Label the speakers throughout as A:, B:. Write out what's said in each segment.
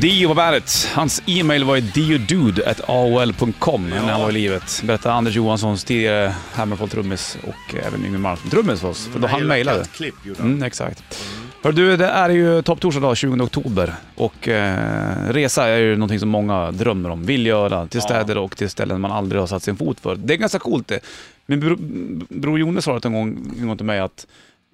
A: Dio Barrett. Hans e-mail var ju diodude.aol.com när han var i livet. Berättade Anders Johanssons tidigare Hammerfall trummis och även Yngwie Malmsteen trummis för
B: Mm.
A: oss. För då han mejlade.
B: Klipp gjorde han.
A: Mm, exakt. Hör du, det är ju topptorsdag idag, 20 oktober. Och eh, resa är ju någonting som många drömmer om, vill göra, till städer och till ställen man aldrig har satt sin fot för. Det är ganska coolt det. Min bro, bror Jone sa det en gång, en gång till mig, att,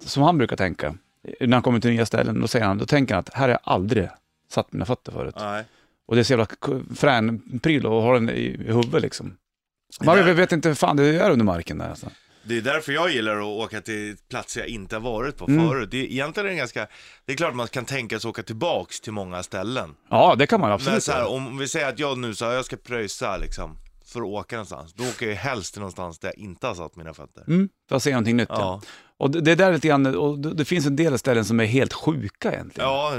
A: som han brukar tänka, när han kommer till nya ställen, då, säger han, då tänker han att här har jag aldrig satt mina fötter förut.
B: Nej.
A: Och det är så jävla k- frän pryl och har den i i huvudet liksom. Man vet- vet inte hur fan det är under marken där alltså.
B: Det är därför jag gillar att åka till platser jag inte har varit på
A: Mm.
B: förut. Det är, egentligen är det ganska, det är klart man kan tänka sig åka tillbaks till många ställen.
A: Ja, det kan man
B: Men
A: absolut
B: så här,
A: göra.
B: om vi säger att jag nu så här, jag ska pröjsa liksom, för att åka någonstans. Då åker jag ju helst till någonstans där jag inte har satt mina fötter.
A: Mm, för att se någonting nytt. Ja.
B: Ja,
A: Och det, det är där lite grann, och det, det finns en del ställen som är helt sjuka egentligen.
B: ja,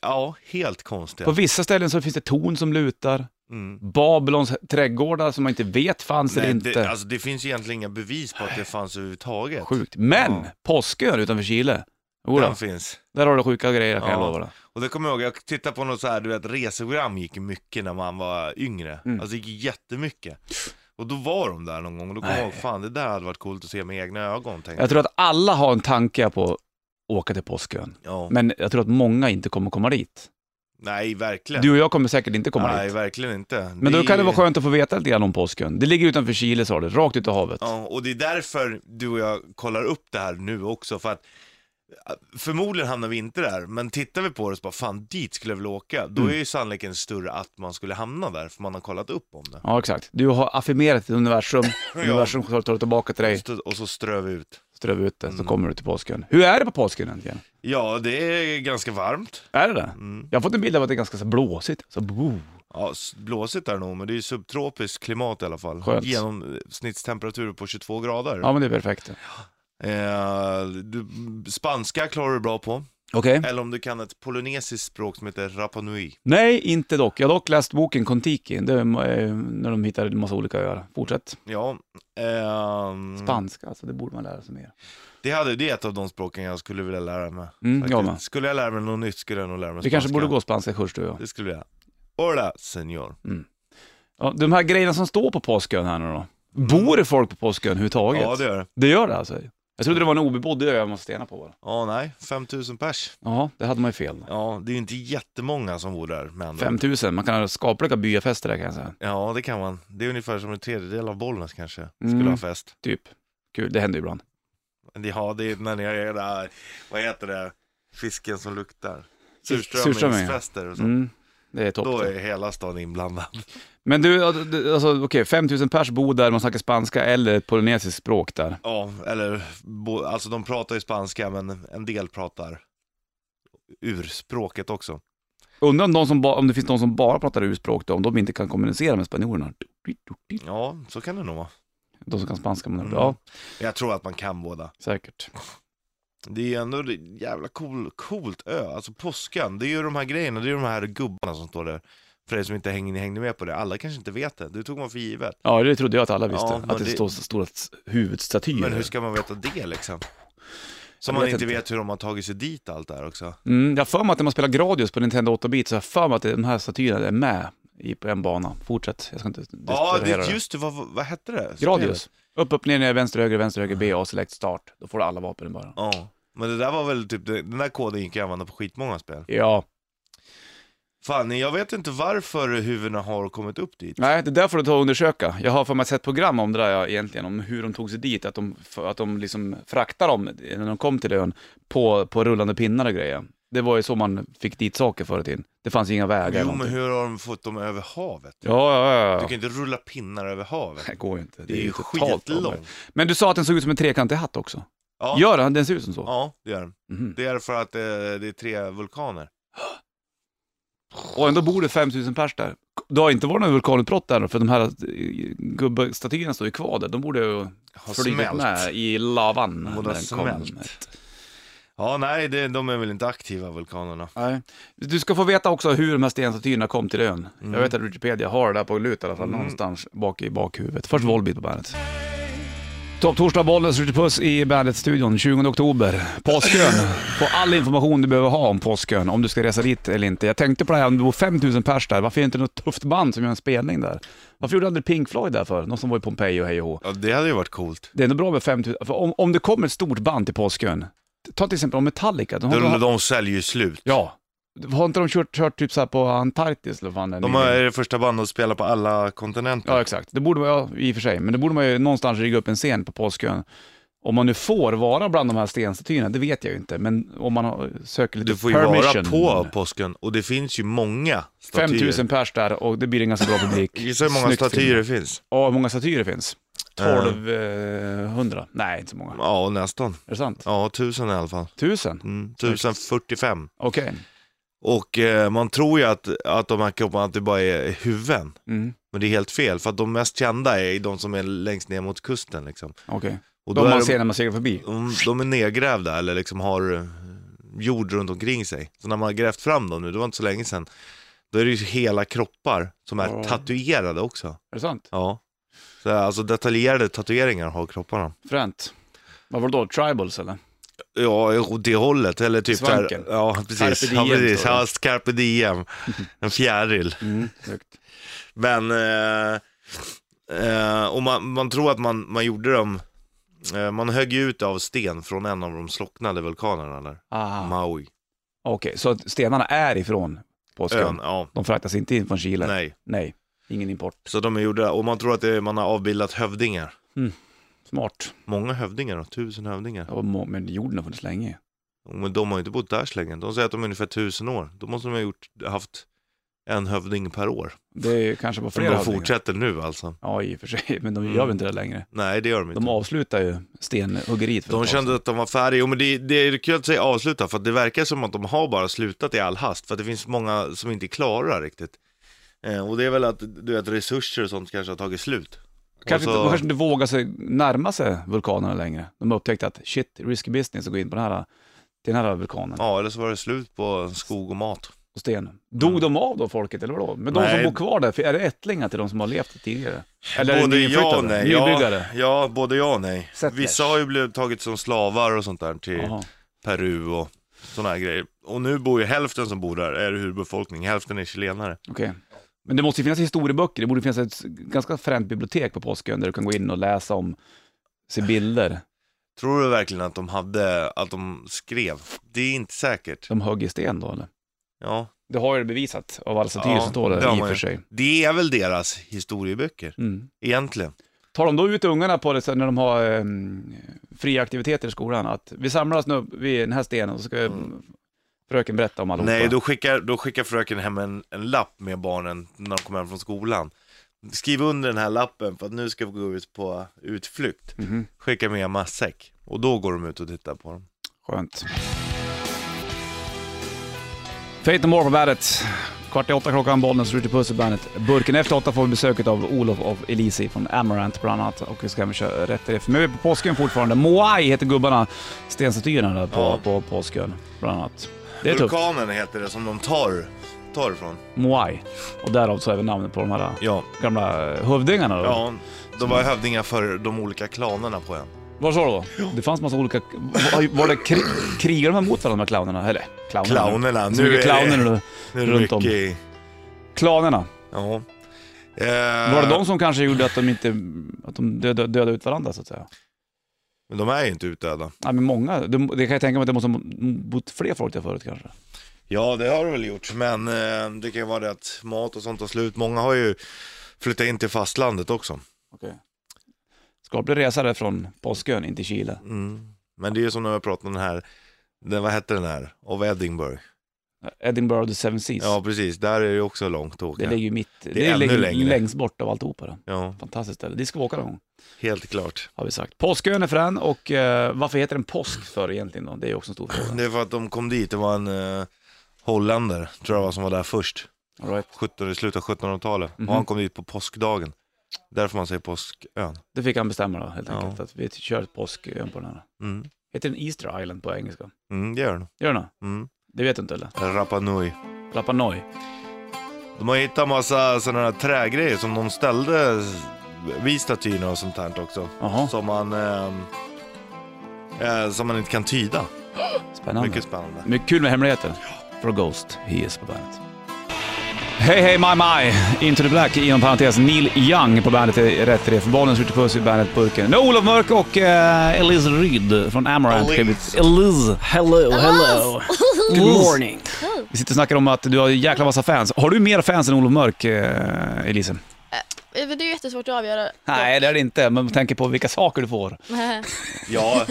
B: ja helt konstigt.
A: På vissa ställen så finns det torn som lutar,
B: Mm.
A: Babylons trädgårdar som man inte vet fanns eller
B: Nej,
A: inte.
B: det, alltså, det finns ju egentligen inga bevis på att det fanns överhuvudtaget.
A: Sjukt. Men
B: Ja.
A: påskön utanför Chile, Jodå,
B: Den finns.
A: där har du sjuka grejer kan jag
B: Ja.
A: lova dig.
B: Och det kommer jag ihåg, jag tittade på något så här, du vet reseprogram gick ju mycket när man var yngre.
A: Mm.
B: Alltså det gick ju jättemycket. Och då var de där någon gång och då kom
A: Nej.
B: jag ihåg, fan det där hade varit coolt att se med egna ögon tänkte
A: Jag tror att alla har en tanke på att åka till påskön,
B: Ja.
A: men jag tror att många inte kommer komma dit.
B: Nej, verkligen.
A: Du och jag kommer säkert inte komma
B: Nej,
A: dit.
B: verkligen inte.
A: Men då
B: är
A: kan det
B: ju-
A: vara skönt att få veta lite grann om påskön. Det ligger utanför Chile sa du, rakt ut i havet.
B: Ja, och det är därför du och jag kollar upp det här nu också, för att förmodligen hamnar vi inte där, men tittar vi på det så bara, fan dit skulle jag vilja åka, då
A: Mm.
B: är ju sannolikheten större att man skulle hamna där, för man har kollat upp om det.
A: Ja, exakt. Du har affirmerat ett universum, universum tar tar det tillbaka till dig,
B: Stö- Och så strör vi ut.
A: ströv ut det, så
B: Mm.
A: kommer du till påskön. Hur är det på påskön egentligen?
B: Ja, det är ganska varmt.
A: Är det det?
B: Mm.
A: Jag har fått en bild av att det är ganska så blåsigt. Så, bo.
B: Ja, s- blåsigt är det nog, men det är ju subtropiskt klimat i alla fall.
A: Skönt.
B: Genomsnittstemperaturer på 22 grader.
A: Ja, men det är perfekt.
B: Eh, du, spanska klarar du bra på,
A: Okej.
B: eller om du kan ett polonesiskt språk som heter Rapa Nui.
A: Nej, inte dock. Jag har dock läst boken Kontiki, det är, eh, när de hittade en massa olika öar. Fortsätt.
B: Ja, ehm,
A: Spanska, alltså det borde man lära sig mer.
B: det, hade, det är ett av de språken jag skulle vilja lära mig.
A: Mm,
B: faktiskt.
A: jag med.
B: Skulle jag lära mig något nytt skulle jag nog lära mig
A: Vi kanske
B: spanska.
A: borde gå spanska kurs du och jag.
B: Det skulle jag. Hola, senor.
A: Ja, de här grejerna som står på påskön här nu då. Bor det folk på påskön överhuvudtaget?
B: Mm. Ja, det gör det.
A: Det gör det alltså? Jag trodde det var en obebodd ö jag måste stena på bara.
B: Ja, nej, 5000 pers.
A: Ja, det hade man ju fel. då.
B: Ja, det är ju inte jättemånga som bor där, men...
A: 5000, man kan ha skapliga byafester där kan jag säga.
B: Ja, det kan man. Det är ungefär som en tredjedel av Bollnäs kanske, skulle
A: Mm.
B: ha fest.
A: Typ. Kul, det händer ju ibland.
B: Men Ja, det är när ni har era, vad heter det, fisken som luktar.
A: surströmming, ja.
B: Surströmmingsfester och så.
A: Mm, det är topp.
B: Då
A: det.
B: är hela stan inblandad.
A: Men du, alltså okej, 5000 pers bor där, man snackar spanska eller ett polynesiskt språk där.
B: Ja, eller, bo- alltså de pratar ju spanska men en del pratar urspråket också.
A: Undrar om, de som ba, om det finns någon som bara pratar urspråk då, om de inte kan kommunicera med spanjorerna.
B: Ja, så kan det nog vara.
A: De som kan spanska, men
B: Mm.
A: ja,
B: Jag tror att man kan båda.
A: säkert.
B: Det är ju ändå det- jävla cool, coolt ö, alltså påskan, det är ju de här grejerna, det är ju de här gubbarna som står där. För dig som inte hängde, hängde med på det, alla kanske inte vet det, det tog man för givet.
A: Ja, det trodde jag att alla visste,
B: Ja, men
A: att det,
B: det-
A: står så stora s- huvudstatyer.
B: Men hur ska man veta det liksom?
A: Jag
B: Som man
A: vet
B: inte
A: inte.
B: vet hur de har tagit sig dit allt där också.
A: mm, jag har för mig att när man spelar Gradius på Nintendo 8-bit så har jag för mig att de här statyerna är med i, på en bana. Fortsätt, jag ska inte
B: Ja,
A: distrahera
B: det,
A: dig.
B: just det, vad, vad hette det? Spelet?
A: Gradius. Upp, upp, ner, ner, vänster, höger, vänster, höger, B, A, select, start. Då får du alla vapen i början.
B: Ja, men det där var väl typ, det- den där koden gick ju att använda på skitmånga spel.
A: Ja,
B: Fan, jag vet inte varför huvudena har kommit upp dit.
A: nej det där får du ta och undersöka. Jag har för mig sett program om det där ja, egentligen, om hur de tog sig dit, att de, att de liksom fraktade dem när de kom till ön på, på rullande pinnar och grejer. Det var ju så man fick dit saker förr i tiden. Det fanns ju inga vägar.
B: Jo,
A: eller
B: men
A: någonting.
B: hur har de fått dem över havet?
A: Ja, ja, ja.
B: Du
A: ja.
B: kan inte rulla pinnar över havet.
A: Det går ju inte.
B: Det är ju
A: totalt
B: skitlångt.
A: omöjligt. Men du sa att den såg ut som en trekantig hatt också.
B: Ja.
A: Gör den? Den ser ut som så?
B: Ja, det gör den.
A: Mhm.
B: Det är för att eh, det är tre vulkaner.
A: Och ändå bor det 5000 pers där. Det har inte varit något vulkanutbrott där för de här eh, gubbstatyerna står ju kvar där. De borde ju
B: Har
A: flugit med
B: smält.
A: i lavan.
B: Borde ha
A: när den kom.
B: smält. Ja, nej, det, de är väl inte aktiva vulkanerna.
A: Nej. Du ska få veta också hur de här stenstatyerna kom till ön. Jag vet att Wikipedia har det där på lut i alla fall, någonstans bak i bakhuvudet. Först Volbeat på bandet. Topptorsdag, bollen skjuter puss i Bandet-studion 20 oktober. Påskön. Få all information du behöver ha om Påskön, om du ska resa dit eller inte. Jag tänkte på det här, om det bor 5000 pers där, varför är det inte något tufft band som gör en spelning där? Varför gjorde aldrig Pink Floyd där för? Någon som var i Pompeji och hej och hå.
B: Ja, det hade ju varit coolt.
A: Det är ändå bra med 5000, för om, om det kommer ett stort band till Påskön, ta till exempel om Metallica. De har,
B: De, de säljer ju slut.
A: ja. Har inte de kört, kört typ så här på Antarktis eller vad fan det är?
B: De är det första bandet att spela på alla kontinenter.
A: Ja, exakt. Det borde man, ja, i och för sig, men det borde man ju någonstans rigga upp en scen på Påskön. Om man nu får vara bland de här stenstatyerna, det vet jag ju inte, men om man har- söker lite
B: Du får ju
A: permission.
B: vara på påsken och det finns ju många statyer.
A: 5000 pers där och det blir en ganska bra publik.
B: Gissa hur många
A: Snyggt
B: statyer
A: film.
B: det finns?
A: Ja, hur många statyer det finns? 1200? Nej, inte så många. Är
B: Ja, nästan.
A: det sant?
B: Ja, tusen i alla fall.
A: 1000?
B: Mm, 1045.
A: Okej.
B: Och eh, man tror ju att, att de här kropparna, att det bara är huvuden.
A: Mm.
B: Men det är helt fel, för att de mest kända är de som är längst ner mot kusten. Liksom.
A: Okej.
B: Och
A: De
B: är
A: man
B: de,
A: ser när man seglar förbi?
B: de, de är nedgrävda eller liksom har eh, jord runt omkring sig. Så när man har grävt fram dem nu, det var inte så länge sedan, då är det ju hela kroppar som är
A: Ja.
B: tatuerade också.
A: Är det sant?
B: Ja. Så, alltså detaljerade tatueringar har kropparna.
A: Fränt. Vad var det då? Tribals eller?
B: Ja, åt det hållet. Eller typ
A: Svanken.
B: där, ja, precis.
A: Carpe diem,
B: ja, precis.
A: står det.
B: Ja, carpe diem. En fjäril.
A: Mm. Snyggt.
B: Men, eh, eh, och man, man tror att man, man gjorde dem, eh, man högg ju ut av sten från en av de slocknade vulkanerna där,
A: Ah.
B: Maui.
A: Okej, så att stenarna är ifrån
B: Ön,
A: Påskön?
B: ja.
A: De fraktas inte in från Chile?
B: Nej.
A: Nej, ingen import.
B: Så de är gjorda, och man tror att det, man har avbildat hövdingar.
A: Smart.
B: Många hövdingar då, tusen hövdingar.
A: Ja, må- Men jorden har funnits länge.
B: Och Men de har ju inte bott där så länge, de säger att de är ungefär tusen år. Då måste de ha gjort, haft en hövding per år.
A: Det är kanske var
B: För
A: flera
B: de
A: hövdingar.
B: fortsätter nu alltså.
A: Ja, i och för sig. Men de gör
B: Mm.
A: väl inte det längre.
B: Nej, det gör de inte.
A: De avslutar ju stenhuggeriet. för ett
B: Typ De
A: tag
B: kände
A: sedan.
B: att de var färdiga. Jo, men det, det är kul att säga avsluta, för att det verkar som att de har bara slutat i all hast, för att det finns många som inte är klara riktigt. Eh, och det är väl att du vet, resurser och sånt kanske har tagit slut.
A: Kanske,
B: och så-
A: inte, de kanske inte vågar sig närma sig vulkanerna längre. De har upptäckt att shit, risky business att gå in på den här, till den här vulkanen.
B: Ja, eller så var det slut på skog och mat.
A: Och sten. Dog de av då, folket, eller vadå? Men de
B: Mm. Nej.
A: som bor kvar där, för är det ättlingar till de som har levt tidigare? Eller är det
B: både ja och
A: nyinflyttade?
B: nej.
A: Nybyggare?
B: Ja, ja, både ja och nej.
A: Settlers.
B: Vissa har ju blivit tagit som slavar och sånt där till
A: Jaha.
B: Peru och såna här grejer. Och nu bor ju hälften som bor där, är urbefolkning, hälften är chilenare.
A: Okej. Men det måste ju finnas historieböcker, det borde finnas ett ganska fränt bibliotek på Påskön där du kan gå in och läsa om, se bilder.
B: Tror du verkligen att de hade, att de skrev? Det är inte säkert.
A: De högg i sten då eller?
B: Ja,
A: Det har ju bevisat av alla statyer
B: Ja,
A: som står där
B: det har
A: i och
B: man
A: för
B: ju.
A: sig.
B: Det är väl deras historieböcker,
A: Mm.
B: egentligen.
A: Tar de då ut ungarna på det sen när de har eh, fria aktiviteter i skolan? Att vi samlas nu vid den här stenen och så ska eh, fröken berätta om allihopa.
B: Nej, då skickar, då skickar fröken hem en, en lapp med barnen när de kommer hem från skolan. Skriv under den här lappen för att nu ska vi gå ut på utflykt.
A: Mhm.
B: Skicka med en matsäck. Och då går de ut och tittar på dem.
A: Skönt. Fate No More på bandet. Kvart i åtta klockan, Bollnäs, Ruter Puss och bandet. Burken efter åtta får vi besöket av Olof av Elisi från Amarant bland annat. Och vi ska även köra rätt riff. Men vi är på Påskön fortfarande. Moai heter gubbarna, stenstatyerna där på,
B: Ja.
A: på Påskön bland annat. Det är tufft.
B: Vulkanen heter det som de tar, tar ifrån.
A: Moai. Och därav så även namnet på de här
B: Ja,
A: gamla hövdingarna då.
B: ja de var hövdingar för de olika klanerna på ön.
A: Var så då? Det fanns massa olika... Var, var det krig, krigade de mot varandra, de här clownerna? Eller clownerna?
B: Clownerna,
A: Så
B: nu är
A: mycket clowner
B: det,
A: nu.
B: nu är det
A: runt om.
B: mycket i...
A: Klanerna.
B: Ja. Eh,
A: Var det de som kanske gjorde att de inte att de dödade, dödade ut varandra så att säga?
B: Men de är ju inte utdöda.
A: Nej men många, det, det kan jag tänka mig att det måste ha bott fler folk där förut kanske.
B: Ja, det har det väl gjort, men eh, det kan ju vara det att mat och sånt tar slut. Många har ju flyttat in till fastlandet också.
A: Okej. Skaplig resa där från Påskön in till Chile.
B: Mm. Men det är ju som när vi pratade om den här, den, vad hette den här, av Edinburgh.
A: Edinburgh of the Seven Seas.
B: Ja, precis. Där är det ju också långt att
A: det
B: åka.
A: ligger ju mitt, det,
B: ännu
A: ligger
B: längre.
A: längst bort av alltihopa. det.
B: Ja,
A: Fantastiskt ställe, dit ska vi åka någon gång.
B: helt klart.
A: Har vi sagt. Påskön är frän och eh, varför heter den påsk för egentligen då? Det är ju också en stor fråga.
B: Det är för att de kom dit, det var en eh, holländare, tror jag var, som var där först.
A: All right.
B: 17, I slutet av 1700-talet.
A: Mhm.
B: Och han kom dit på påskdagen. Därför man säger påskön.
A: Det fick han bestämma då helt
B: Ja.
A: enkelt, att vi kör påskön på den här.
B: Mm.
A: Heter den Easter Island på engelska?
B: Mm, det gör den.
A: Gör den det?
B: Mm.
A: Det vet du inte eller?
B: Rapa Nui.
A: Rapa Nui.
B: De har hittat massa sådana här trägrejer som de ställde vid statyerna och sånt här också.
A: Jaha.
B: Som man... ehm, eh, som man inte kan tyda.
A: Spännande.
B: Mycket spännande.
A: Mycket kul med hemligheter. For Ghost, he is på bandet. Hej hej my my! Into the Black inom parentes Neil Young på bandet är rätt riff. Bollen skjuter puss i bandet-burken. Nu Olof Mörk och eh, Elise Ryd från Amaranth.
B: Elise.
A: Elise.
C: Hello, hello. Good morning.
A: Vi sitter och snackar om att du har en jäkla massa fans. Har du mer fans än Olof Mörk, eh, Elise?
D: Eh, men Det är ju jättesvårt att avgöra.
A: Nej, det är det inte. Men med tanke på vilka saker du får.
B: Ja,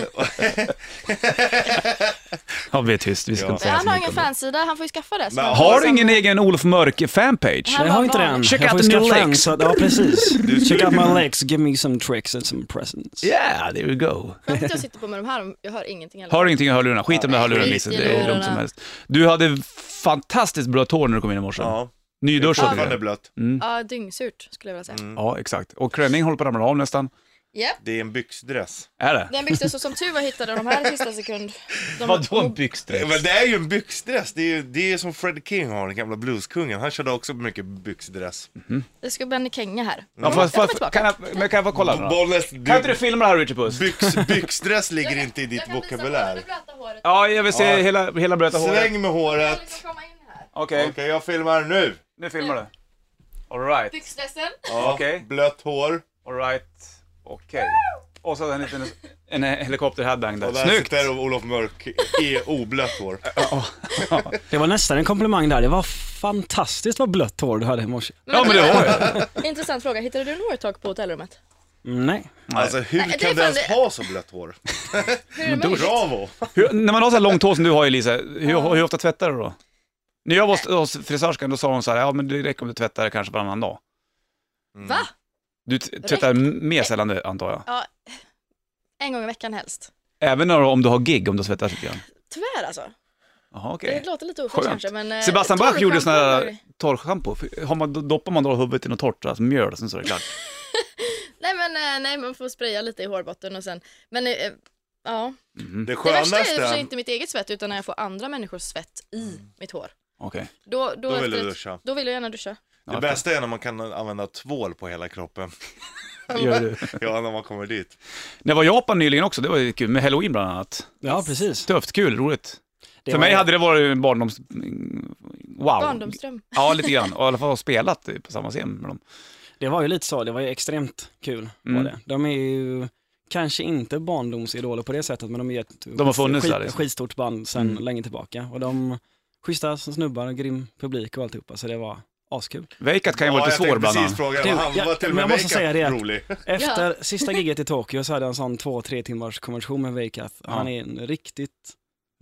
A: Ja, vi är tyst. Vi ska
B: Ja.
A: inte säga så
D: Han har
A: mycket
D: ingen
A: om det.
D: fansida, han får ju skaffa det. så
B: Men
D: han-
A: Har du ingen egen Olof Mörk fanpage?
D: Han
C: Jag har inte
D: var-
C: den.
A: Check
C: jag
A: out
C: får
A: the new
C: skaffa en,
A: legs.
C: så att- Ja, precis.
B: Du-
C: Check out my legs, give me some tricks and some presents.
A: Yeah, there you go.
D: Skönt att jag sitter på med de här, om- jag hör ingenting heller.
A: Har du ingenting i hörlurarna? Skit om du har hörlurar
D: Skit i
A: Lisse, det är lugnt
D: hörlurarna.
A: som helst. Du hade fantastiskt blött hår när du kom in i morse.
B: ja.
A: Nyduschad.
B: Fortfarande blött.
D: Ja, dyngsurt skulle jag vilja säga.
A: Ja, exakt. Och klänning håller på att ramla av nästan.
D: Japp.
B: Det är en byxdress.
A: Är det?
D: Den byxan så som tur var hittade de här i sista sekund. De
B: Ja,
A: byxdräkt?
B: Men det är ju en byxdress. Det är ju det är som Fred King har, den gamla blueskungen. Han körde också mycket byxdress.
D: Det ska Benny Känga här.
A: Ja, får, får, får, kan, jag, men kan jag få kolla? då?
B: Bollnäs,
A: Kan inte du
B: du,
A: filma det här Richard Puss?
B: byx, byxdress ligger inte i ditt vokabulär.
A: Ja, jag vill se
B: Ja.
A: hela, hela blöta håret.
B: Sväng med
D: liksom
B: håret.
A: Okej,
B: Okej, jag filmar nu.
A: nu filmar du. Alright,
D: Byxdressen.
B: Ja,
A: Okej.
B: Blött hår.
A: alright, okej. Och så hade han en liten en helikopter-headbang där.
B: Och där
A: Snyggt!
B: sitter Olof Mörk i oblött hår.
C: Det var nästan en komplimang där. Det var fantastiskt vad blött hår du hade i morse.
A: Ja, men det har jag.
D: Intressant fråga, hittade du en hårtork på hotellrummet?
C: Mm, Nej.
B: Alltså
D: Nej, det
B: hur
D: är
B: kan du
D: fan
B: ens
D: det-
B: ha så blött hår?
D: Hur är det möjligt?
B: Bravo!
A: Hur, när man har så här långt hår som du har Elisa, hur, hur ofta tvättar du då? När jag var
C: Eh.
A: hos- hos frisörskan då sa hon så här, ja men det räcker om du tvättar kanske varannan dag.
B: Mm.
D: Va?
A: Du t- tvättar m-
C: Eh.
A: mer sällan nu antar jag.
D: Ja, en gång i veckan helst.
A: Även när, om du har gig, om du svettas lite grann.
D: Tyvärr alltså.
A: Jaha okej.
D: Det låter lite ofräscht
A: Skönt.
D: kanske men... eh,
A: Sebastian Bach gjorde sån här
D: torrschampo-
A: torrschampo. Har man, då doppar man då huvudet i något torrt, alltså mjöl, sen så är det klart.
D: Nej men eh, nej, man får spraya lite i hårbotten och sen... Men eh, ja.
A: Mhm,
B: Det
D: Det värsta är i och för sig
B: skönaste,
D: inte mitt eget svett utan när jag får andra människors svett i mitt hår.
A: Okej.
D: Då, då,
B: Då vill
D: efter
B: du
D: ett-
B: duscha.
D: Då vill jag gärna duscha.
B: det bästa är när man kan använda tvål på hela kroppen.
A: Gör du.
B: Ja, när man kommer dit.
A: När jag var i Japan nyligen också, det var ju kul, med halloween bland annat.
C: Ja, precis.
A: Tufft, kul, roligt.
C: Det
A: För
C: var-
A: mig hade det varit en barndoms... Wow.
D: Barndomsdröm.
A: Ja, lite grann. Och i alla fall har spelat på samma scen med dem.
C: Det var ju lite så, det var ju extremt kul.
A: Mm.
C: Var det. De är ju kanske inte barndomsidoler på det sättet, men de är ett
A: De har funnits där, liksom.
C: skitstort band sedan länge tillbaka. Och de, schyssta som snubbar, och grym publik och alltihopa, så det var askul.
A: Vejkat kan ju vara lite svår
B: Jag
A: bland
B: tänkte precis
A: annat.
B: fråga,
C: Du,
B: han
C: jag-
B: var till och
C: men
B: med
C: jag måste
B: makeup
C: säga det att-
B: rolig.
C: Efter sista giget i Tokyo så hade jag en sån två, tre timmars konversation med Veikath. Han är en riktigt,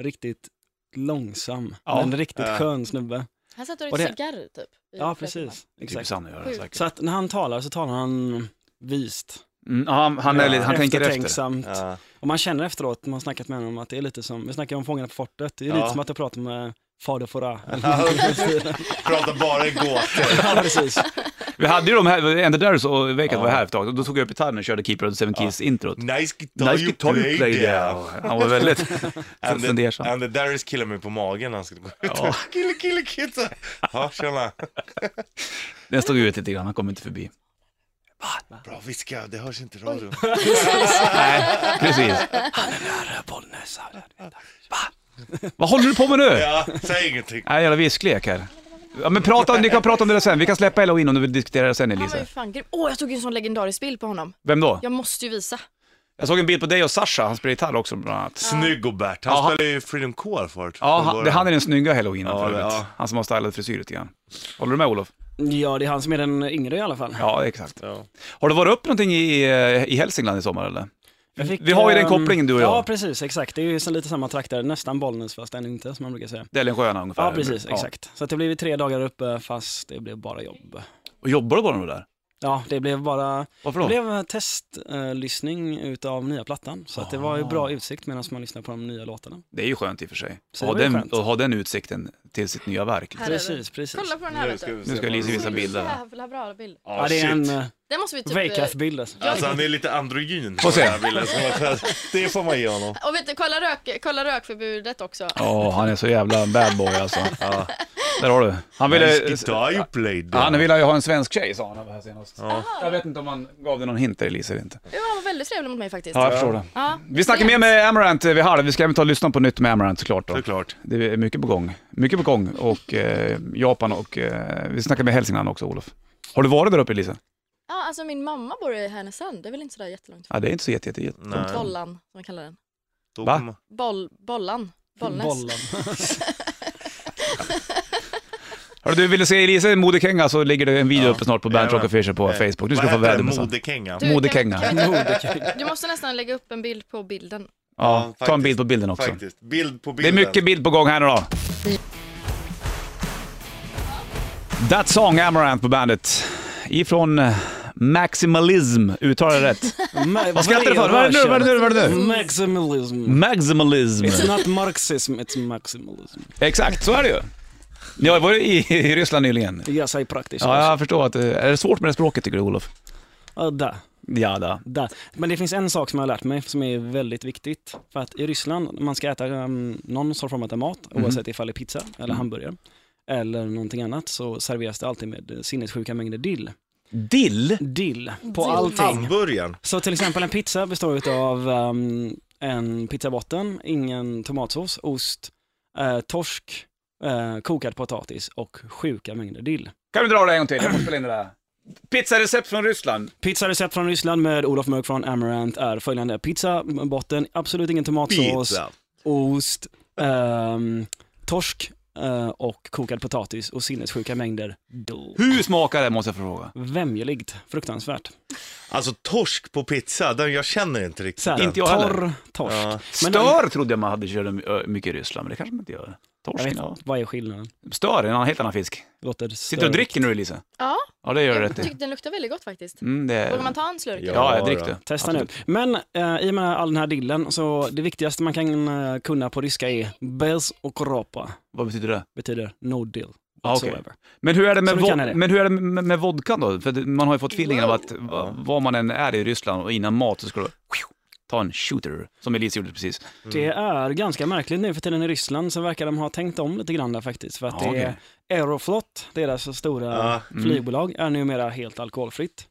C: riktigt långsam,
A: Ja.
C: men en riktigt
B: Ja.
C: skön snubbe.
D: Han satt och
C: Och
D: rökte
C: det-
D: cigarr typ. i flera
C: Ja, precis.
A: Typ
C: Exakt.
A: Sanne gör det säkert.
C: Så att när han talar så talar han vist.
A: Mm, ja, han han, är, lite- han tänker efter.
C: Eftertänksamt.
B: Ja.
C: Och man känner efteråt, man har snackat med honom, att det är lite som, vi snackade om Fångarna på fortet, det är
B: Ja.
C: lite som att jag pratar med Fader Fora.
B: Pratar bara i gåtor.
C: ja, precis.
A: Vi hade ju de här, Ender Darius och Vejkat var här ett tag, och då tog jag upp gitarren och körde Keeper of the Seven Keys introt.
B: Nice guitar,
A: Nice guitar you play there. Han var väldigt
B: And the,
A: fundersam.
B: and the Darius killar mig på magen när han skulle gå ut.
A: Ja.
B: Kille, kille, kille. Ja, tjena.
A: Den stod ut lite grann, han kom inte förbi.
B: Bra viska, det hörs inte i radion.
A: Nej, precis.
C: Bollnäs.
A: Vad håller du på med nu?
B: Ja, säg ingenting.
A: Nej, jävla visklek här. Ja, men prata, ni kan prata om det där sen. Vi kan släppa Elohim om du vill diskutera det sen
D: timmar. Han var ju
A: Elise.
D: fan grym. Åh, jag tog ju en sån legendarisk bild på honom.
A: Vem då?
D: Jag måste ju visa.
A: Jag såg en bild på dig och Sasha, han spelar gitarr också bland annat.
B: Snygg och Bert. Han
A: Ja, han-
B: spelade ju Freedom Core förut.
A: Ja,
B: Från
A: han,
B: början.
A: det, han är den snygga halloween
B: Ja,
A: för övrigt.
B: ja.
A: Han som har stylat frisyr lite grann. Håller du med Olof?
C: Ja, det är han som är den yngre i alla fall.
A: Ja, exakt.
B: Ja.
A: Har du varit upp någonting i, eh, i Hälsingland i sommar eller?
C: Jag fick,
A: Vi har ju den
C: ehm,
A: kopplingen, du och jag.
C: Ja, precis, exakt. Det är ju så lite samma trakter, nästan Bollnäs fast än inte, som man brukar säga.
A: Delsjöarna ungefär?
C: Ja, precis, exakt. Så att det blev ju tre dagar uppe, fast det blev bara jobb.
A: Och jobbar du bara med det där?
C: Ja, det blev bara,
A: Varför
C: det
A: då?
C: blev testlyssning utav nya plattan. Så att det var ju
A: Ah.
C: bra utsikt medan man lyssnar på de nya låtarna.
A: Det är ju skönt i och för sig.
C: Så
A: Att
C: det
A: ha
C: var ju
A: den,
C: skönt.
A: att ha den utsikten till sitt nya verk. liksom.
D: Här är
C: Precis, precis.
D: Kolla på den här
B: Nu
D: vet
B: ska
D: du.
B: vi
A: Nu ska
B: se.
A: Lise visa
D: Så
A: bilder. här.
D: Jävla bra bild.
C: ja,
B: Ja,
C: det är
B: shit.
C: en eh,
D: Den måste vi typ...
C: Veikath-bild alltså.
B: Alltså han är lite androgyn.
A: Får se.
B: den här bilden. Det får man ge honom.
D: eh, Och vet du, kolla, rök, kolla rökförbudet också.
A: Ja, han är så jävla bad boy alltså. Där har du. Han ville...
B: Nice guitar you played.
A: Han ville ju ha en svensk tjej sa han här senast.
B: Ja.
A: Jag vet inte om han gav dig någon hint där Elise eller inte.
D: Jo, han var väldigt trevlig mot mig faktiskt.
A: Ja, jag förstår det.
D: Ja.
A: Vi snackar mer med Amarant eh, vid halv. Vi ska även ta och lyssna på nytt med Amarant såklart då.
B: Såklart.
A: Det är mycket på gång. Mycket på gång och eh, Japan och eh, vi snackar med Hälsingland också Olof. Har du varit där uppe Elise?
D: Ja, alltså min mamma bor i Härnösand. Det är väl inte sådär jättelångt
A: Ja, det är inte så jätte, jätte, jätte.
B: Nej.
D: Bollan, som man kallar den.
B: Då
A: Va?
B: kommer-
D: Boll, bollan. Bollnäs.
C: Bollen.
A: Hörru, du ville se Elise i modekänga så ligger det en video
B: Ja.
A: uppe snart på Bernt Rock
B: Jajamän.
A: Official på
B: Eh,
A: Facebook. Nu ska du få
B: Vad heter det?
A: väder med sånt.
B: Modekänga?
D: Du, kan-
A: Modekänga.
D: kan vi inte-
C: Modekänga.
D: Du måste nästan lägga upp en bild på bilden.
B: Ja,
A: Ja, ta en
B: faktiskt.
A: bild på bilden också.
B: Faktiskt. Bild på
A: Det är
B: bilden.
A: mycket bild på gång här nu då. That song Amarant på bandet. Ifrån eh, Maximalism, uttalar jag rätt? Vad skrattar du för? Vad är det nu? Vad är det nu? Mm. Vad är det nu?
C: Maximalism.
A: Maximalism.
C: It's not marxism, it's maximalism.
A: Exakt, så är det ju. Jag var ju i, i Ryssland nyligen.
C: Jag säger praktiskt.
A: Ja, jag förstår att eh, är det svårt med det språket tycker du Olof?
C: Ja, där.
A: Ja, da.
C: Där. Men det finns en sak som jag har lärt mig som är väldigt viktigt. För att i Ryssland, när man ska äta um, någon sorts form av mat, oavsett ifall det är pizza eller hamburgare eller någonting annat, så serveras det alltid med eh, sinnessjuka mängder dill.
A: Dill?
C: Dill på
D: Dill.
C: allting.
B: Hamburgaren.
C: Så till exempel en pizza består av um, en pizzabotten, ingen tomatsås, ost, eh, torsk, eh, kokad potatis och sjuka mängder dill.
A: Kan du dra det en gång till? Jag måste spela in det där. Pizzarecept från Ryssland.
C: Pizzarecept från Ryssland med Olof Mörk från Amarant är följande. Pizza, botten, absolut ingen tomatsås,
B: Pizza.
C: ost, ehm, torsk eh, och kokad potatis och sinnessjuka mängder dill.
A: Hur smakar det måste jag fråga?
C: Vämjeligt, fruktansvärt.
B: Alltså torsk på pizza, den jag känner inte riktigt.
C: Så här,
A: Inte jag
C: torr
A: heller.
C: torsk.
B: Ja.
C: Men-
A: Stör trodde jag man hade kört ö, mycket i Ryssland, men det kanske man inte gör.
C: Jag
A: Torsken,
C: vet
A: ja.
C: inte, vad är skillnaden?
A: Stör är en annan- helt annan fisk.
C: Låter
A: Sitter du och
C: större.
A: dricker nu Elise?
D: Ja,
A: Ja, det gör du
D: jag
A: rätt i.
D: tyckte den luktade väldigt gott faktiskt.
A: Mm, det
D: Vågar
A: är...
D: man ta en slurk?
B: Ja.
A: Ja, jag drick du.
C: Testa
A: Absolut.
C: nu. Men eh, i och med all den här dillen så det viktigaste man kan eh, kunna på ryska är bez och ropa.
A: Vad betyder det?
C: Betyder no dill
A: Ah, okej.
C: whatsoever.
A: Men hur är det med,
C: Så du
A: vod-
C: kan det.
A: men hur är det med, med vodkan då? För det- man har ju fått feelingen av att va, vad man än är i Ryssland och innan mat så ska du ta en shooter, som Elise gjorde precis.
C: Det
A: Mm.
C: är ganska märkligt nu för tiden i Ryssland så verkar de ha tänkt om lite grann där faktiskt. För att
A: Ja,
C: det
A: okej. mm.
C: är Aeroflot, deras stora
B: Ja.
C: flygbolag, är numera helt alkoholfritt.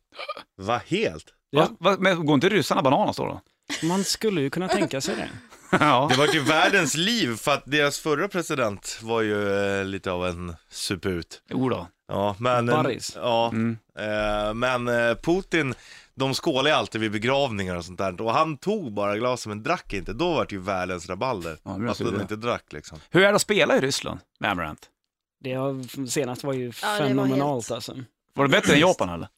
B: Va, helt?
C: Ja.
A: Va, va, men går inte ryssarna bananas då? då?
C: Man skulle ju kunna tänka sig det.
A: ja.
B: Det var ju världens liv för att deras förra president var ju eh, lite av en suput.
A: Jo då.
B: Ja, men...
C: Boris.
B: Ja,
A: Mm.
B: eh, men eh, Putin, de skålar ju alltid vid begravningar och sånt där. Och han tog bara glasen men drack inte. Då var det ju världens rabalder.
A: Ja, det är
B: att
A: så det
B: de
A: är.
B: inte drack liksom.
A: Hur är det att spela i Ryssland med Amarant?
C: Det har- senast var ju
D: Ja, det var
C: fenomenalt
D: helt-
C: alltså.
A: Var det bättre än Japan eller?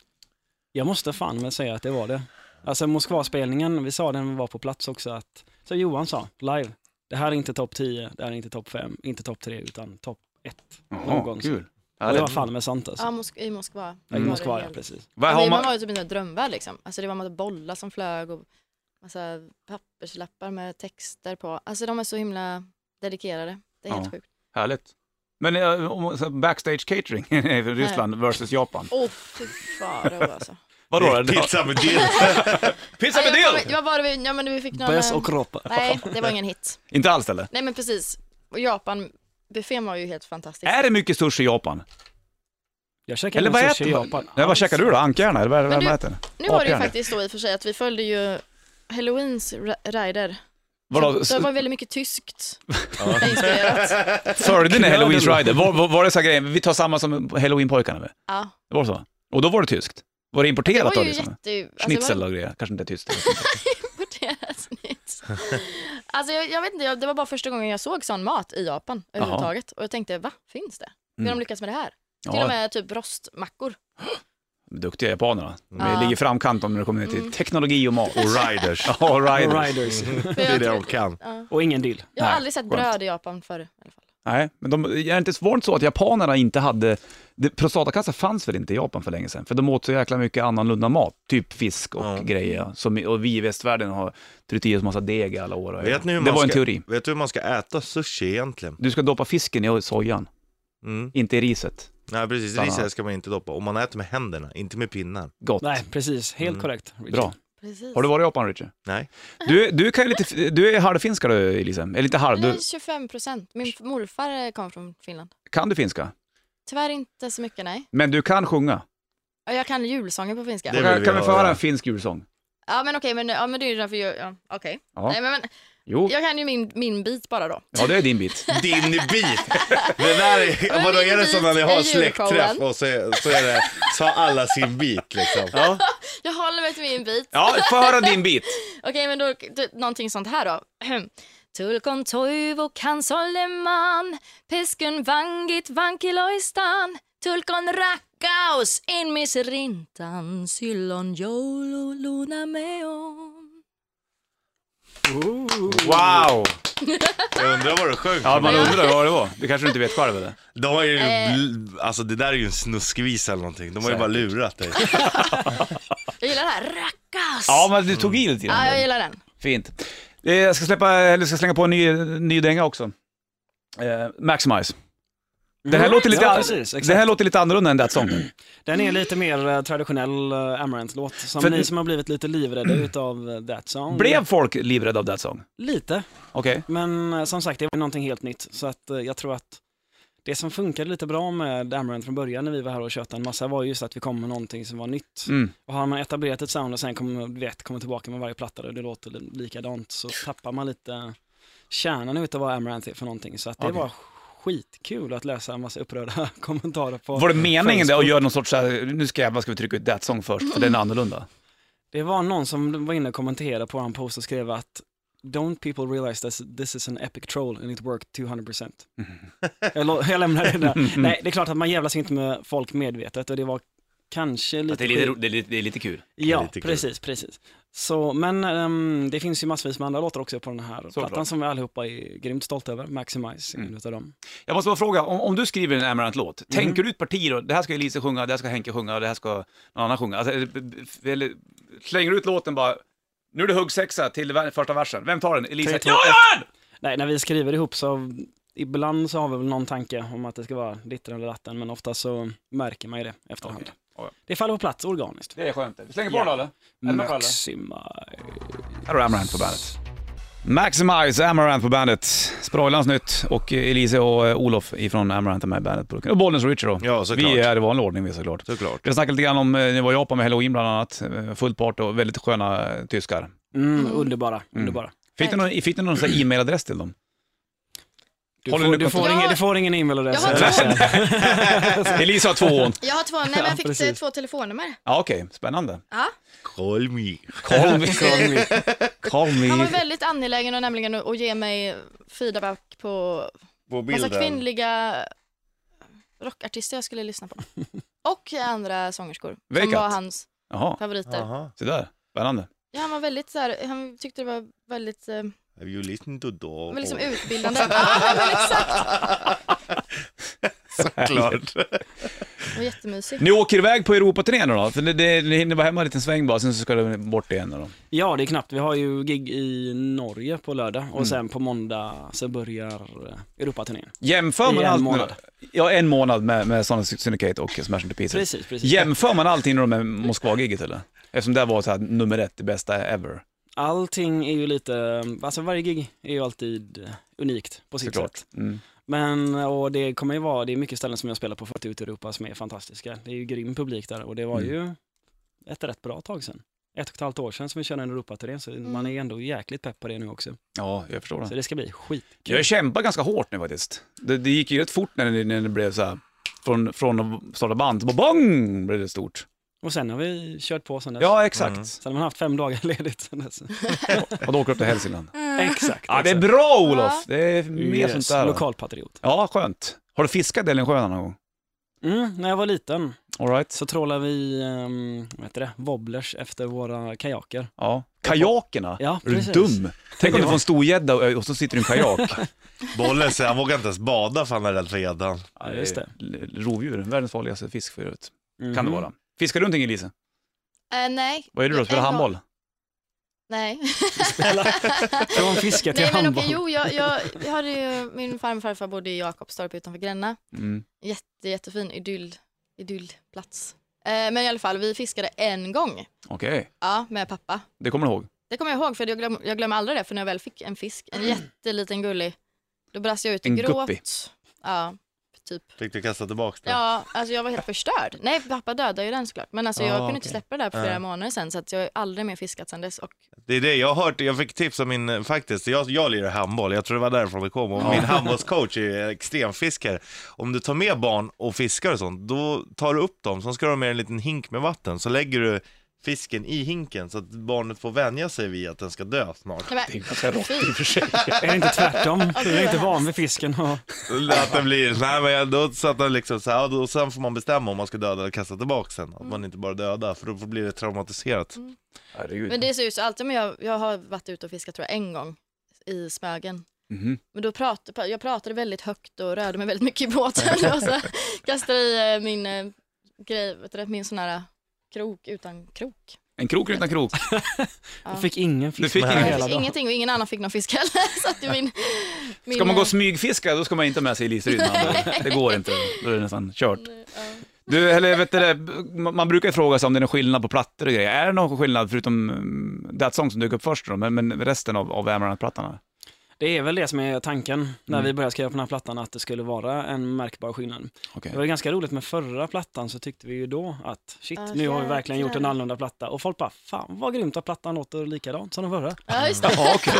C: Jag måste fan med säga att det var det. Alltså Moskvaspelningen, vi sa den var på plats också att, så Johan sa, live, det här är inte topp 10, det här är inte topp 5, inte topp 3 utan topp 1.
A: Jaha,
C: Någonsin.
A: kul.
C: Och
A: Ja,
C: det
A: det,
C: var fan med sant alltså.
D: Ja, Mosk- i
A: Mm,
D: Moskva.
C: Ja, I
D: var det
C: Moskva, ja
D: helt-
C: precis.
A: vad
D: Men
A: har
D: man
A: man...
D: var ju typ i en drömvärld liksom. Alltså det var en massa bollar som flög och massa papperslappar med texter på. Alltså de är så himla dedikerade. Det är helt
A: Ja.
D: sjukt.
A: Härligt. Men eh, om- så backstage catering i Ryssland versus Japan.
D: Åh, oh, fy farao alltså.
A: Vadå? då?
B: Pizza med dill.
A: Pizza med
D: Nej, jag, kommer-
A: dill!
D: jag var vi, ja men vi fick någon...
C: Bäs
D: eh,
C: och ropa.
D: Nej, det var ingen hit.
A: Inte alls eller?
D: Nej men precis. Och Japan, buffén var ju helt fantastisk.
A: Är det mycket sushi i Japan?
C: Jag käkade
A: Eller vad
C: en sushi
A: äter
C: i
A: man?
C: Japan.
A: Nej, vad käkar du då? Ankhjärna? Eller vad,
D: Men
A: vad
D: du-
A: äter ni?
D: Nu var det ju
A: Apjärn.
D: faktiskt då i och för sig att vi följde ju Halloweens ra- rider.
A: Vadå,
D: Så det var väldigt mycket tyskt inspirerat.
A: Följde ni Halloweens
C: Knöden.
A: Rider? Var, var, var det så här grejer, vi tar samma som Halloween-pojkarna? eller?
D: Ja.
A: Det var så? Och då var det tyskt? Var det
D: Det
A: importerat
D: var
A: då?
D: ju
A: Liksom?
D: jätte... Alltså, det var-
A: Schnitzel och grejer, kanske inte är tyskt.
D: på deras nytt. Alltså jag, jag vet inte, jag, det var bara första gången jag såg sån mat i Japan överhuvudtaget. Och jag tänkte, va, finns det? Hur har
A: Mm.
D: de lyckats med det här? Till och
A: Ja,
D: med typ rostmackor.
A: duktiga japanerna. De
D: Ja. Mm.
A: ligger i framkant om när det kommer till teknologi och mat.
B: Och riders.
A: Ja, Rider.
C: Och Riders.
A: Mm.
B: Det är det de kan.
D: Ja.
C: Och ingen dill.
D: Jag har
A: Nej,
D: aldrig sett
A: skönt.
D: bröd i Japan förr. I alla fall.
A: Nej, men de, är det inte svårt så att japanerna inte hade... Det, prostatacancer fanns väl inte i Japan för länge sedan? För de åt så jäkla mycket annorlunda mat, typ fisk och
B: Ja.
A: grejer. Som, och vi i västvärlden har tryckt i oss massa deg i alla år.
B: Vet ni hur
A: det
B: man
A: var en
B: ska,
A: teori.
B: Vet du hur man ska äta sushi egentligen?
A: Du ska doppa fisken i sojan,
B: Mm.
A: inte i riset.
B: Nej precis,
A: Stanna.
B: ris ska man inte doppa. Och man äter med händerna, inte med pinnar.
A: Gott.
C: Nej, precis. Helt korrekt. Richard.
A: Mm. Bra.
D: Precis.
A: Har du varit i Japan, Richie?
B: Nej.
A: Du, du, kan ju lite, du är halvfinska du, Elise. Eller inte halv,
D: Nu är
A: du,
D: det 25 procent. Min morfar eh, kom från Finland.
A: kan du finska?
D: Tyvärr inte så mycket, nej.
A: Men du kan sjunga.
D: Ja, Jag kan julsånger på finska.
B: Det vill
A: kan
B: vi
A: kan vi få
B: höra.
A: höra en finsk julsång?
D: Ja, men okej, men, ja, men det är ju därför jag... Ja, okej.
A: Ja.
D: Nej, men, men,
A: Jo,
D: jag kan ju min, min bit bara då.
A: ja det är din bit.
B: Din bit! Det där är,
D: Men
B: vadå
D: min
B: är det som när ni
D: bit
B: har
D: är
B: släktträff
D: julshowen.
B: och så, är- så är det, så har alla sin bit liksom.
A: Ja,
D: Jag håller mig till min bit.
A: ja få höra din bit.
D: Okej, men då, du, någonting sånt här då. Tulkon toivo kansolleman, peskun vangit vankiloistan, tulkon rakkaus inmis rintan, sillon joulu luna meon.
A: Wow!
B: Jag undrar vad du sjöng.
A: Ja, man undrar vad det var. Det kanske du inte vet själv eller?
B: De har ju,
D: Eh.
B: bl- alltså det där är ju en snuskvisa eller någonting. De har ju
A: Säkert.
B: bara lurat dig.
D: Jag gillar det här, rakkaus!
A: Ja, men du tog i lite
D: Ja, jag
A: grann.
D: gillar den.
A: Fint. Eh, Jag ska, släppa, eller ska slänga på en ny, ny dänga också. Eh, Maximize. Det här, låter lite,
C: Mm. Ja, precis,
A: det
C: exakt. Mm.
A: här låter lite annorlunda än That Song.
C: Den är lite mer eh, traditionell eh, Amaranth-låt. Som
A: För- Mm.
C: ni som har blivit lite livrädda utav eh, That Song.
A: Blev folk livrädda av That Song?
C: Lite,
A: Okej.
C: men eh, som sagt det var någonting helt nytt. Så att eh, jag tror att det som funkade lite bra med Amaranth från början när vi var här och tjötade en massa var just att vi kom med någonting som var nytt.
A: Mm.
C: Och har man etablerat ett sound och sen kommer, du vet, kommer tillbaka med varje platta och det låter li- likadant så tappar man lite kärnan utav vad Amaranth är för någonting. Så att det
A: Okej.
C: var skitkul att läsa en massa upprörda kommentarer på.
A: Var det meningen det att
C: Facebook.
A: göra någon sorts så här, nu ska jävlar ska vi trycka ut That Song först, för den är annorlunda?
C: Det var någon som var inne och kommenterade på en post och skrev att Don't people realize that this is an epic troll and it worked 200%. Jag, lo- jag lämnar det där. Nej, det är klart att man jävlas inte med folk medvetet och det var kanske lite... skit.
A: det, är lite, det är lite kul.
C: Ja,
B: lite kul.
C: precis, precis. Så, men ehm, det finns ju massvis med andra låtar också på den här plattan
A: klart.
C: som vi allihopa är grymt stolta över. Maximize
A: Mm.
C: är en utav dem.
A: Jag måste bara fråga, om, om du skriver en Amaranth-låt,
C: Mm.
A: tänker du ut partier och det här ska Elise sjunga, det här ska Henke sjunga och det här ska någon annan sjunga? Alltså, är det- b- b- eller, slänger du ut låten bara, nu är det huggsexa till ver- första versen, vem tar den? Elise?
C: Tre, två,
A: Ja,
C: ett.
A: ja!
C: Nej, när vi skriver ihop så ibland så har vi väl någon tanke om att det ska vara ditten eller datten, men ofta så märker man ju det efterhand.
A: Okej. Ja, ja.
C: Det faller på plats organiskt.
A: Det är skönt. Vi slänger på den då eller? Eller vad kallar du det? Här
C: Maximize.
A: har du Amaranth på bandet. Maximize Amaranth på bandet. Sproilans nytt och Elise och eh, Olof ifrån Amaranth är med i bandet. Och Bollnäs och Richard då.
B: Ja, såklart.
A: vi är i vanlig ordning vi såklart.
B: Såklart.
A: Vi har snackat lite grann om, eh, ni var i Japan med Halloween bland annat, Eh, fullt party och väldigt sköna eh, tyskar.
C: Mm, underbara, underbara.
A: Fick du någon, fick du någon sån här e-mailadress till dem?
C: Du
A: Håller
C: får,
A: ni
C: du får,
D: kontakt?
C: ingen,
D: Jag-
C: du får ingen e-mailadress.
D: Jag har
C: eller?
A: Elisa har två hon.
D: Jag har två, nej men
C: Ja,
D: jag fick
C: precis.
D: två telefonnummer.
A: Ja, okej, spännande.
D: Ja.
B: Call me.
A: Call me. Call
D: Han var
A: me.
D: väldigt angelägen och nämligen att att ge mig feedback på
B: På
D: massa
B: bilden.
D: kvinnliga rockartister jag skulle lyssna på. Och andra sångerskor.
A: Vekat.
D: Som var hans
A: Jaha,
D: favoriter.
B: Aha.
A: se där. Spännande.
D: Ja, han var väldigt så här, han tyckte det var väldigt, eh,
B: Have you listened to dog?
D: men liksom utbildande. ja, men exakt.
B: Såklart.
D: Och jättemysig.
A: Ni åker iväg på Europaturnén då? För det, det, ni hinner vara hemma en liten sväng bara, sen så ska du bort igen. Då.
C: Ja, det är knappt. Vi har ju gig i Norge på lördag
A: Mm.
C: och sen på måndag så börjar eh, Europaturnén.
A: Jämför
C: I
A: man
C: en
A: allt
C: månad.
A: Nu, ja, en månad med, med Sonic Syndicate och Smash Into Pieces.
C: Precis, precis.
A: Jämför man allting då med Moskva-giget eller? Eftersom det var så här, nummer ett, det bästa ever.
C: Allting är ju lite, alltså varje gig är ju alltid unikt på sitt
A: Såklart.
C: sätt.
A: Mm.
C: Men, och det kommer ju vara, det är mycket ställen som jag spelar på förut ute i Europa som är fantastiska. Det är ju grym publik där och det var
A: Mm.
C: ju ett rätt bra tag sedan. Ett och ett halvt år sedan som vi körde en Europaturné så man är ändå jäkligt pepp på det nu också.
A: Ja, jag förstår
C: Så
A: det.
C: det ska bli skitkul.
A: Jag kämpar ganska hårt nu faktiskt. Det, det gick ju rätt fort när det, när det blev så här, från, från att starta band, bara bong blev det stort.
C: Och sen har vi kört på sen dess.
A: Ja, exakt.
C: Sen har man haft fem dagar ledigt sen dess.
A: Och då åker jag upp till Hälsingland.
D: Mm.
C: Exakt.
A: Ja, det är
C: exakt.
A: bra Olof! Det är mer
C: Yes,
A: sånt där. va?
C: Lokalpatriot.
A: Ja, skönt. Har du fiskat Ällingsjöarna någon gång?
C: Mm, när jag var liten
A: All right.
C: så trålade vi, um, vad heter det, wobblers efter våra kajaker.
A: Ja. Kajakerna?
C: Ja,
A: är du
C: precis.
A: dum? Tänk om du
C: Ja.
A: får en stor gädda och, och så sitter du i en kajak.
B: Bollen säger han vågar inte ens bada för han är rädd för gäddan.
C: Ja, just det.
A: L- Rovdjur, världens farligaste fisk för övrigt.
C: Mhm.
A: Kan det vara. Fiskar du någonting Elise?
D: Eh, nej.
A: Vad gör du då? Spelar
D: En gång.
A: handboll?
D: Nej.
C: Från fiske till
D: nej men
C: handboll.
D: okej, jo, jag, jag, jag hade ju, min farmor och farfar bodde i Jakobstorp utanför Gränna.
A: Mm.
D: Jätte, jättefin idyll, idyllplats. Eh, men i alla fall, vi fiskade en gång.
A: Okej,
D: Ja, med pappa.
A: det kommer du ihåg.
D: Det kommer jag ihåg, för jag, glöm, jag glömmer aldrig det, för när jag väl fick en fisk, en jätteliten gullig, då brast jag ut i
A: Mm. En
D: gråt.
A: guppy.
D: Ja, typ.
B: Fick du kasta tillbaka det?
D: Ja, alltså jag var helt förstörd. Nej, pappa dödade ju den såklart. Men alltså jag
A: Ah,
D: kunde
A: okej.
D: inte släppa det där på flera
B: Ja.
D: månader sen så att jag har aldrig mer fiskat sen dess. Och
B: Det är det jag har hört, jag fick tips av min, eh, faktiskt, jag, jag lirar handboll, jag tror det var därifrån det kom, och min handbollscoach är extremfiskare. Om du tar med barn och fiskar och sånt, då tar du upp dem, sen ska du ha med en liten hink med vatten, så lägger du fisken i hinken så att barnet får vänja sig vid att den ska dö snart.
D: Nej,
A: Det är
D: men,
A: ganska rått i och för sig.
C: Är det inte tvärtom?
D: det
C: Du är inte
D: var
C: van vid fisken och
B: Att den blir, nej men jag- då satt den liksom så här, och då- och sen får man bestämma om man ska döda eller kasta tillbaka sen. Att man inte bara dödar, för då blir det traumatiserat.
A: Herregud.
D: men det är så ut så alltid, men jag, jag har varit ute och fiskat tror jag en gång i Smögen.
A: Mhm.
D: Men då pratade, jag pratade väldigt högt och rörde mig väldigt mycket i båten och så kastade i eh, min eh, grej, vet du, det, min sån här eh, krok utan krok.
A: En krok utan krok.
D: Ja.
C: fick ingen
A: Du
C: fisk.
A: fick
B: Nej.
A: ingen.
D: Jag
C: hela
D: fick
C: dagen.
D: ingenting och ingen annan fick någon fisk heller. Så att min, min, eh,
A: Ska man gå och smygfiska, då ska man inte ha med sig Elis Rydman. Det går inte. Då är det nästan kört.
D: Ja.
A: Du, eller vet du det, man man brukar ju fråga sig om det är någon skillnad på plattor och grejer. Är det någon skillnad förutom um, That Song som dök upp först då, men, men resten av, av Amaranth-plattan? här?
C: Det är väl det som är tanken när
A: Mm.
C: vi började skriva på den här plattan, att det skulle vara en märkbar skillnad.
A: Okej.
C: Det var ganska roligt med förra plattan så tyckte vi ju då att shit,
D: Ja,
C: nu har vi verkligen gjort en
D: jäklar.
C: annorlunda platta. Och folk bara, fan vad grymt att plattan låter likadant som den förra.
D: Ja, just det.
A: Jaha, okej.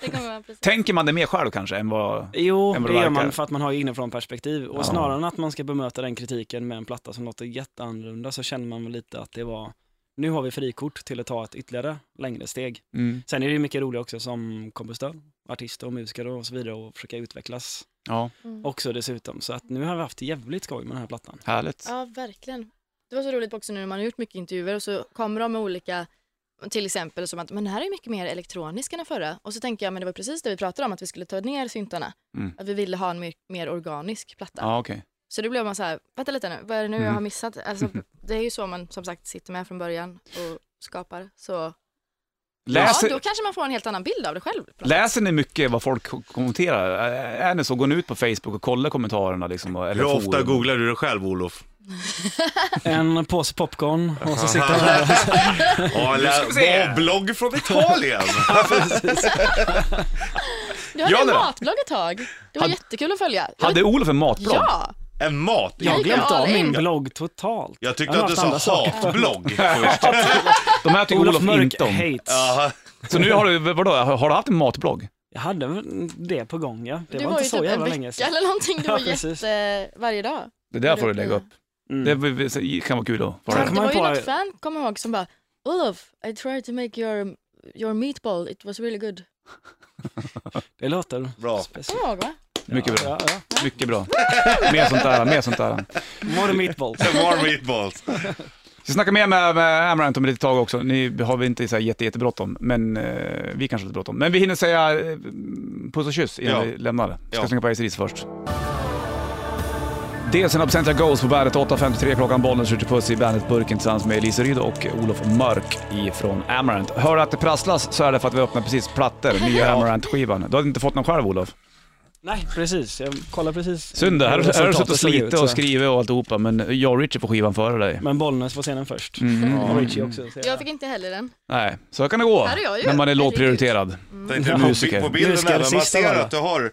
D: det kommer man precis.
A: Tänker man det mer själv kanske än vad...
C: Jo,
A: Än vad
C: det
A: det
C: gör
A: verkar.
C: man för att man har ju inifrån perspektiv. Och
A: Ja.
C: snarare än att man ska bemöta den kritiken med en platta som låter jätteannorlunda så känner man väl lite att det var, nu har vi frikort till att ta ett ytterligare längre steg.
A: Mm.
C: Sen är det ju mycket roligt också som kompositör, artist och musiker och så vidare och försöka utvecklas
A: Ja,
D: Mm.
C: också dessutom. Så att nu har vi haft jävligt skoj med den här plattan.
A: härligt.
D: Ja, verkligen. Det var så roligt också nu när man har gjort mycket intervjuer och så kommer de med olika, till exempel som att men den här är mycket mer elektronisk än den förra. Och så tänker jag, men det var precis det vi pratade om, att vi skulle ta ner syntarna.
A: Mm.
D: Att vi ville ha en mer, mer organisk platta.
A: Ja, okej.
D: Så då blev man så här, vänta lite nu, vad är det nu jag
A: Mm.
D: har missat? Alltså, det är ju så man som sagt sitter med från början och skapar. Så ja,
A: Läser,
D: då kanske man får en helt annan bild av det själv.
A: läser ni mycket vad folk ko- kommenterar? Är är ni så, går ni ut på Facebook och kollar kommentarerna liksom? och- Eller
B: Hur ofta
A: forum?
B: googlar du dig själv, Olof?
C: En påse popcorn och så sitter man där.
B: Ja, eller-
A: ska vi se.
B: Åh, blogg från Italien!
D: Du hade
A: Ja,
D: en
A: det då.
D: matblogg ett tag. Det var
A: Hade-
D: jättekul att följa. Det var-
A: Hade Olof en matblogg?
D: Ja!
B: En mat.
C: Jag har
D: gick
C: glömt
D: all
C: av min
D: in.
C: blogg totalt.
B: Jag
C: Jag
B: tyckte
C: har
B: att du
C: haft andra
B: sa
C: saker.
B: hatblogg först.
A: De här tycker Olof,
C: Olof Mörk
A: inte om.
C: hates.
B: Jaha.
A: Så nu har du, vadå, har du haft en matblogg?
C: Jag hade väl det på gång ja. Det
D: du var
C: var, inte
D: ju
C: så
D: typ en
C: jävla
D: vecka
C: länge sedan.
D: eller någonting. Du
C: Ja,
D: var
C: precis.
D: jätte varje dag.
A: Det där får du lägga upp. Det
C: Mm.
A: det kan vara kul att
C: Ja,
A: vara
C: det
D: det var ju
C: på-
D: något fan, kommer jag ihåg, som bara Olof, I tried to make your, your meatball, it was really good.
C: Det låter
B: Bra.
C: speciellt.
D: Kommer jag ihåg va?
A: Mycket bra.
C: Ja, ja.
A: Mycket bra. Mer sånt där, mer sånt där.
C: More meatballs.
B: More meatballs.
A: Vi ska snacka mer med, med Amaranth om ett litet tag också. Ni har väl inte så här jätte, jättebråttom, men eh, vi kanske har lite bråttom. Men vi hinner säga eh, puss och kyss innan
B: Ja.
A: vi lämnar det. Ska
B: Ja.
A: slänga på Ace Ris först. Dels en Absentia Goes på bandet 8.53 klockan, Bollnäs skjuter puss i bandetburken tillsammans med Elise Ryd och Olof Mörk ifrån Amaranth. Hör du att det prasslas så är det för att vi öppnar precis plattor, nya Amaranth-skivan. Du har inte fått någon själv Olof?
C: Nej, precis. Jag kollar precis.
A: Synd det, här
C: hur
A: här har du suttit
C: resultatet
A: och
C: såg ut,
A: slitit
C: så.
A: och skrivit och alltihopa, men jag och Richie får skivan före dig.
C: Men Bollnäs var scenen först.
A: Mm.
C: Och Richie också. så
D: Jag fick inte heller den.
A: Nej, så kan det gå
D: Här är jag ju.
A: när man är
D: Herregud.
A: lågprioriterad.
B: Tänkte
A: Musiker.
B: på, på bilden
C: Musiker,
B: där, men man
C: sista var
B: ser
C: det.
B: att du har,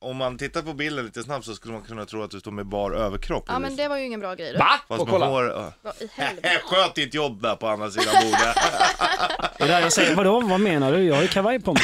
B: om man tittar på bilden lite snabbt så skulle man kunna tro att du står med bar överkropp.
D: Ja men det var ju ingen bra grej då.
A: Va?
B: Fast
A: Och
B: med
A: kolla.
B: hår, ja.
D: Vad i helvete.
B: Sköt ditt jobb där på andra sidan bordet.
C: Det är där jag säger, vadå, vad menar du? Jag har ju kavaj på mig.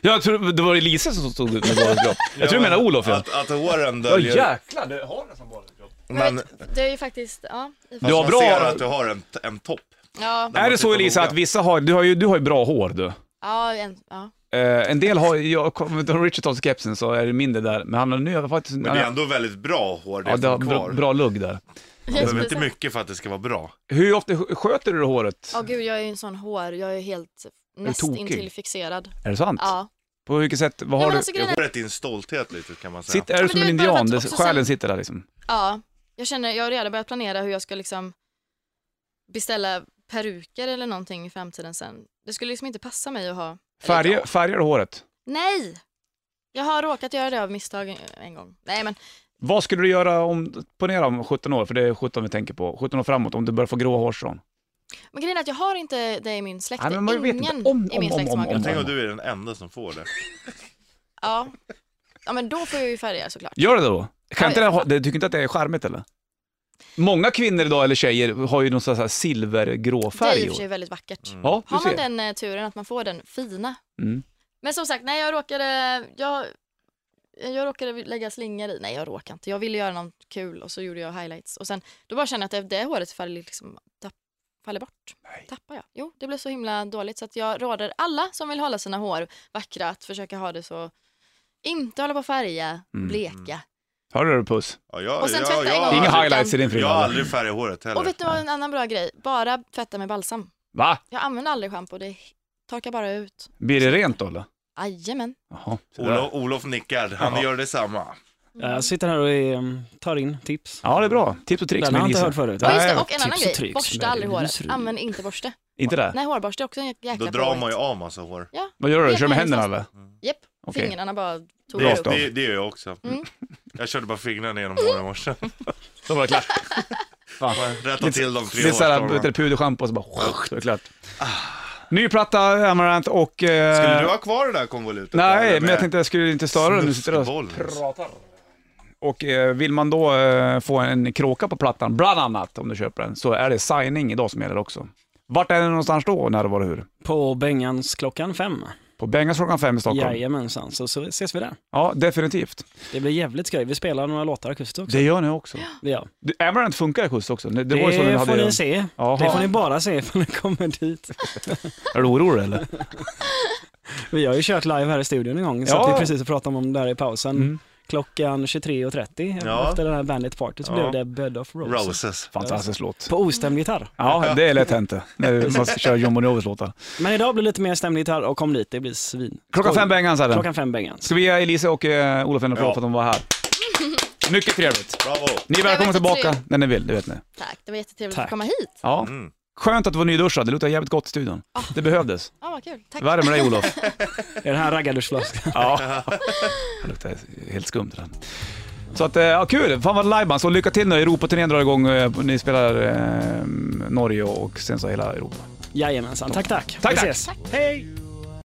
A: Jag tror det var Elise som stod ut med barnkropp. Jag tror du menar Olof ja.
B: Att, att håren
A: Ja
B: döljer.
A: jäklar, du har nästan barnkropp.
B: Men fast
D: Det är ju faktiskt, ja. i och för
A: Du
D: sig.
A: har
B: Alltså, man
A: bra-
B: ser att du har en, en topp.
D: Ja,
B: man
A: Är det så
B: tittar
A: Elisa
B: noga.
A: att vissa har, du har ju, du har ju bra hår du.
D: ja, en, ja.
A: Eh, en del har, jag kommer inte ihåg Richard Todd Skepsen så är det mindre där, men han har nu har faktiskt...
B: Men det är ändå väldigt bra hår det
A: ja, det har
B: som är
A: bra,
B: kvar.
A: bra lugg där.
B: Det behöver inte mycket för att det ska vara bra.
A: Hur ofta sk- sköter du håret?
D: Åh gud, jag är ju en sån hår, jag är helt
A: tokig?
D: nästintill fixerad.
A: Är det sant?
D: Ja.
A: På vilket sätt, vad
D: Nej,
A: har
D: men
A: du?
D: alltså, grejen är-
B: Håret är en stolthet lite kan man säga.
A: Sitt, är du
D: men
A: som
D: det
A: en
D: är bara
A: indian,
D: att
A: det,
D: också sen-
A: själen sitter där liksom?
D: Ja, jag känner, jag har redan börjat planera hur jag ska liksom beställa peruker eller någonting i framtiden sen. Det skulle liksom inte passa mig att ha.
A: Färger, färger du håret?
D: Nej! Jag har råkat göra det av misstag en gång. Nej men,
A: Vad skulle du göra om, ponera om 17 år, för det är 17 vi tänker på, 17 år framåt, om du börjar få gråa hårstrån?
D: men grejen är att jag har inte det i min släkt.
A: Nej, men man vet
D: Ingen
A: inte. Om-
D: i min
A: om- om-
D: släkt som har
A: om-
D: grått.
A: om-
B: Tänk om du är den enda som får det.
D: Ja. ja, men då får jag ju färger såklart.
A: Gör det då? Kan inte
D: Ja, alltså-
A: det, ha- det, tycker inte att det är charmigt eller? Många kvinnor idag, eller tjejer, har ju någon sån här silvergrå
D: Det är i
A: färg.
D: och för sig väldigt vackert.
B: Mm.
A: Ja, du
D: Har man
A: ser.
D: den eh, turen att man får den fina.
A: Mm.
D: Men som sagt, nej jag råkade, jag, eh, jag råkade lägga slingor i. Nej jag råkade inte, jag ville göra något kul och så gjorde jag highlights. Och sen, då bara kände jag att det, det håret faller, liksom, tapp, faller bort. Tappar jag. Jo, det blev så himla dåligt så att jag råder alla som vill hålla sina hår vackra att försöka ha det så, inte hålla på och färga,
A: Mm.
D: bleka.
A: Hör du Puss?
B: Ja, jag,
D: Och sen
B: jag,
D: tvätta en
B: jag,
D: gång.
B: jag,
A: Inga
D: kan-
A: highlights i din
B: jag har
A: frilla?
B: aldrig färg i håret heller.
D: Och vet du vad, en annan bra grej, bara tvätta med balsam.
A: Va?
D: Jag använder aldrig schampo, det torkar bara ut.
A: Blir det rent då eller?
D: Jajamän.
A: Jaha. så där.
B: Olof, Olof nickar, han
A: Ja.
B: gör detsamma.
D: Mm.
C: Jag sitter här och eh, tar in tips.
A: Ja, det är liksom bra. Tips och tricks
C: Den har jag
A: med
C: inte
A: Lisa.
C: hört förut.
D: Och, just
A: Nej,
D: det, och en annan
C: tips och
D: grej,
C: tricks
D: borsta
C: med
D: aldrig håret.
C: ljusrut.
D: Använd inte borste.
A: Inte det?
D: Nej, hårborste är också en jäkla
B: Då drar
D: plågoigt.
B: man ju av massa hår.
A: Vad gör du?
D: Helt
A: Kör med
D: enkelt
A: händerna
D: fast-
A: eller?
D: Japp,
A: Okej.
D: fingrarna bara tog
A: Bra
D: upp.
B: Det,
A: stav.
B: det, det gör jag också.
D: Mm.
B: Jag körde bara fingrarna genom håret i morse.
A: Då var det klart.
B: Rätta till de tre
A: Lite såhär,
B: hårstråna.
A: lite puderschampo och så bara, då är det klart. Ny platta, Amaranth och... eh,
B: Skulle du ha kvar det där konvolutet?
A: Nej, men jag tänkte jag skulle inte störa dig nu sitter du och
B: pratar.
A: Och eh, vill man då eh, få en kråka på plattan, bland annat om du köper den, så är det signing idag som gäller också. Vart är den någonstans då, när, var och hur?
C: På Bengans klockan fem.
A: På Bengans klockan fem i Stockholm?
C: Jajamensan, så, så ses vi där.
A: Ja, definitivt.
C: Det blir jävligt skoj. Vi spelar några låtar akustiskt också.
A: Det gör ni också.
C: Ja.
A: Du, Amaranth funkar i skjuts också. Det, det
C: Det,
A: var ju så den
C: får
A: hade...
C: ni se.
A: Jaha.
C: Det får ni bara se när ni kommer dit.
A: Är du orolig eller?
C: Vi har ju kört live här i studion en gång, så
A: Ja.
C: att vi precis pratade om det här i pausen.
A: Mm.
C: Klockan 23.30
B: Ja.
C: efter den här Bandit Party så
B: Ja.
C: blev det Bed of Roses.
B: Roses.
A: Fantastisk låt.
C: På ostämd gitarr.
A: Ja, det är lätt hänt det. När man ska köra John Bon Jovis låtar.
C: Men idag blir det lite mer stämd gitarr och kom dit, det blir svin.
A: Klockan
C: Skoj.
A: fem Bengans är den.
C: Klockan fem Bengans.
A: Ska vi ge Elise och eh, Olof en applåd
B: Ja.
A: för att de var här? Mycket trevligt.
B: Bravo.
A: Ni är
D: Det var
A: välkomna
D: jättetrevligt.
A: tillbaka när ni vill, det vet ni.
D: Tack, det var jättetrevligt
C: Tack.
D: att komma hit.
A: Ja.
B: Mm.
A: Skönt att du var nyduschad, det luktar jävligt gott i studion. Det behövdes.
D: Ja, vad kul. Tack.
A: Värre med dig Olof.
C: Är det här raggarduschflaskan?
A: Ja. Det luktar helt skumt det där. Så att, eh, ja kul! Fan vad lajban, så lycka till nu. Europaturnén drar igång, eh, ni spelar eh, Norge och sen så hela Europa.
C: Jajamensan, tack tack.
A: Tack,
C: Vi
A: tack.
C: ses. Hej!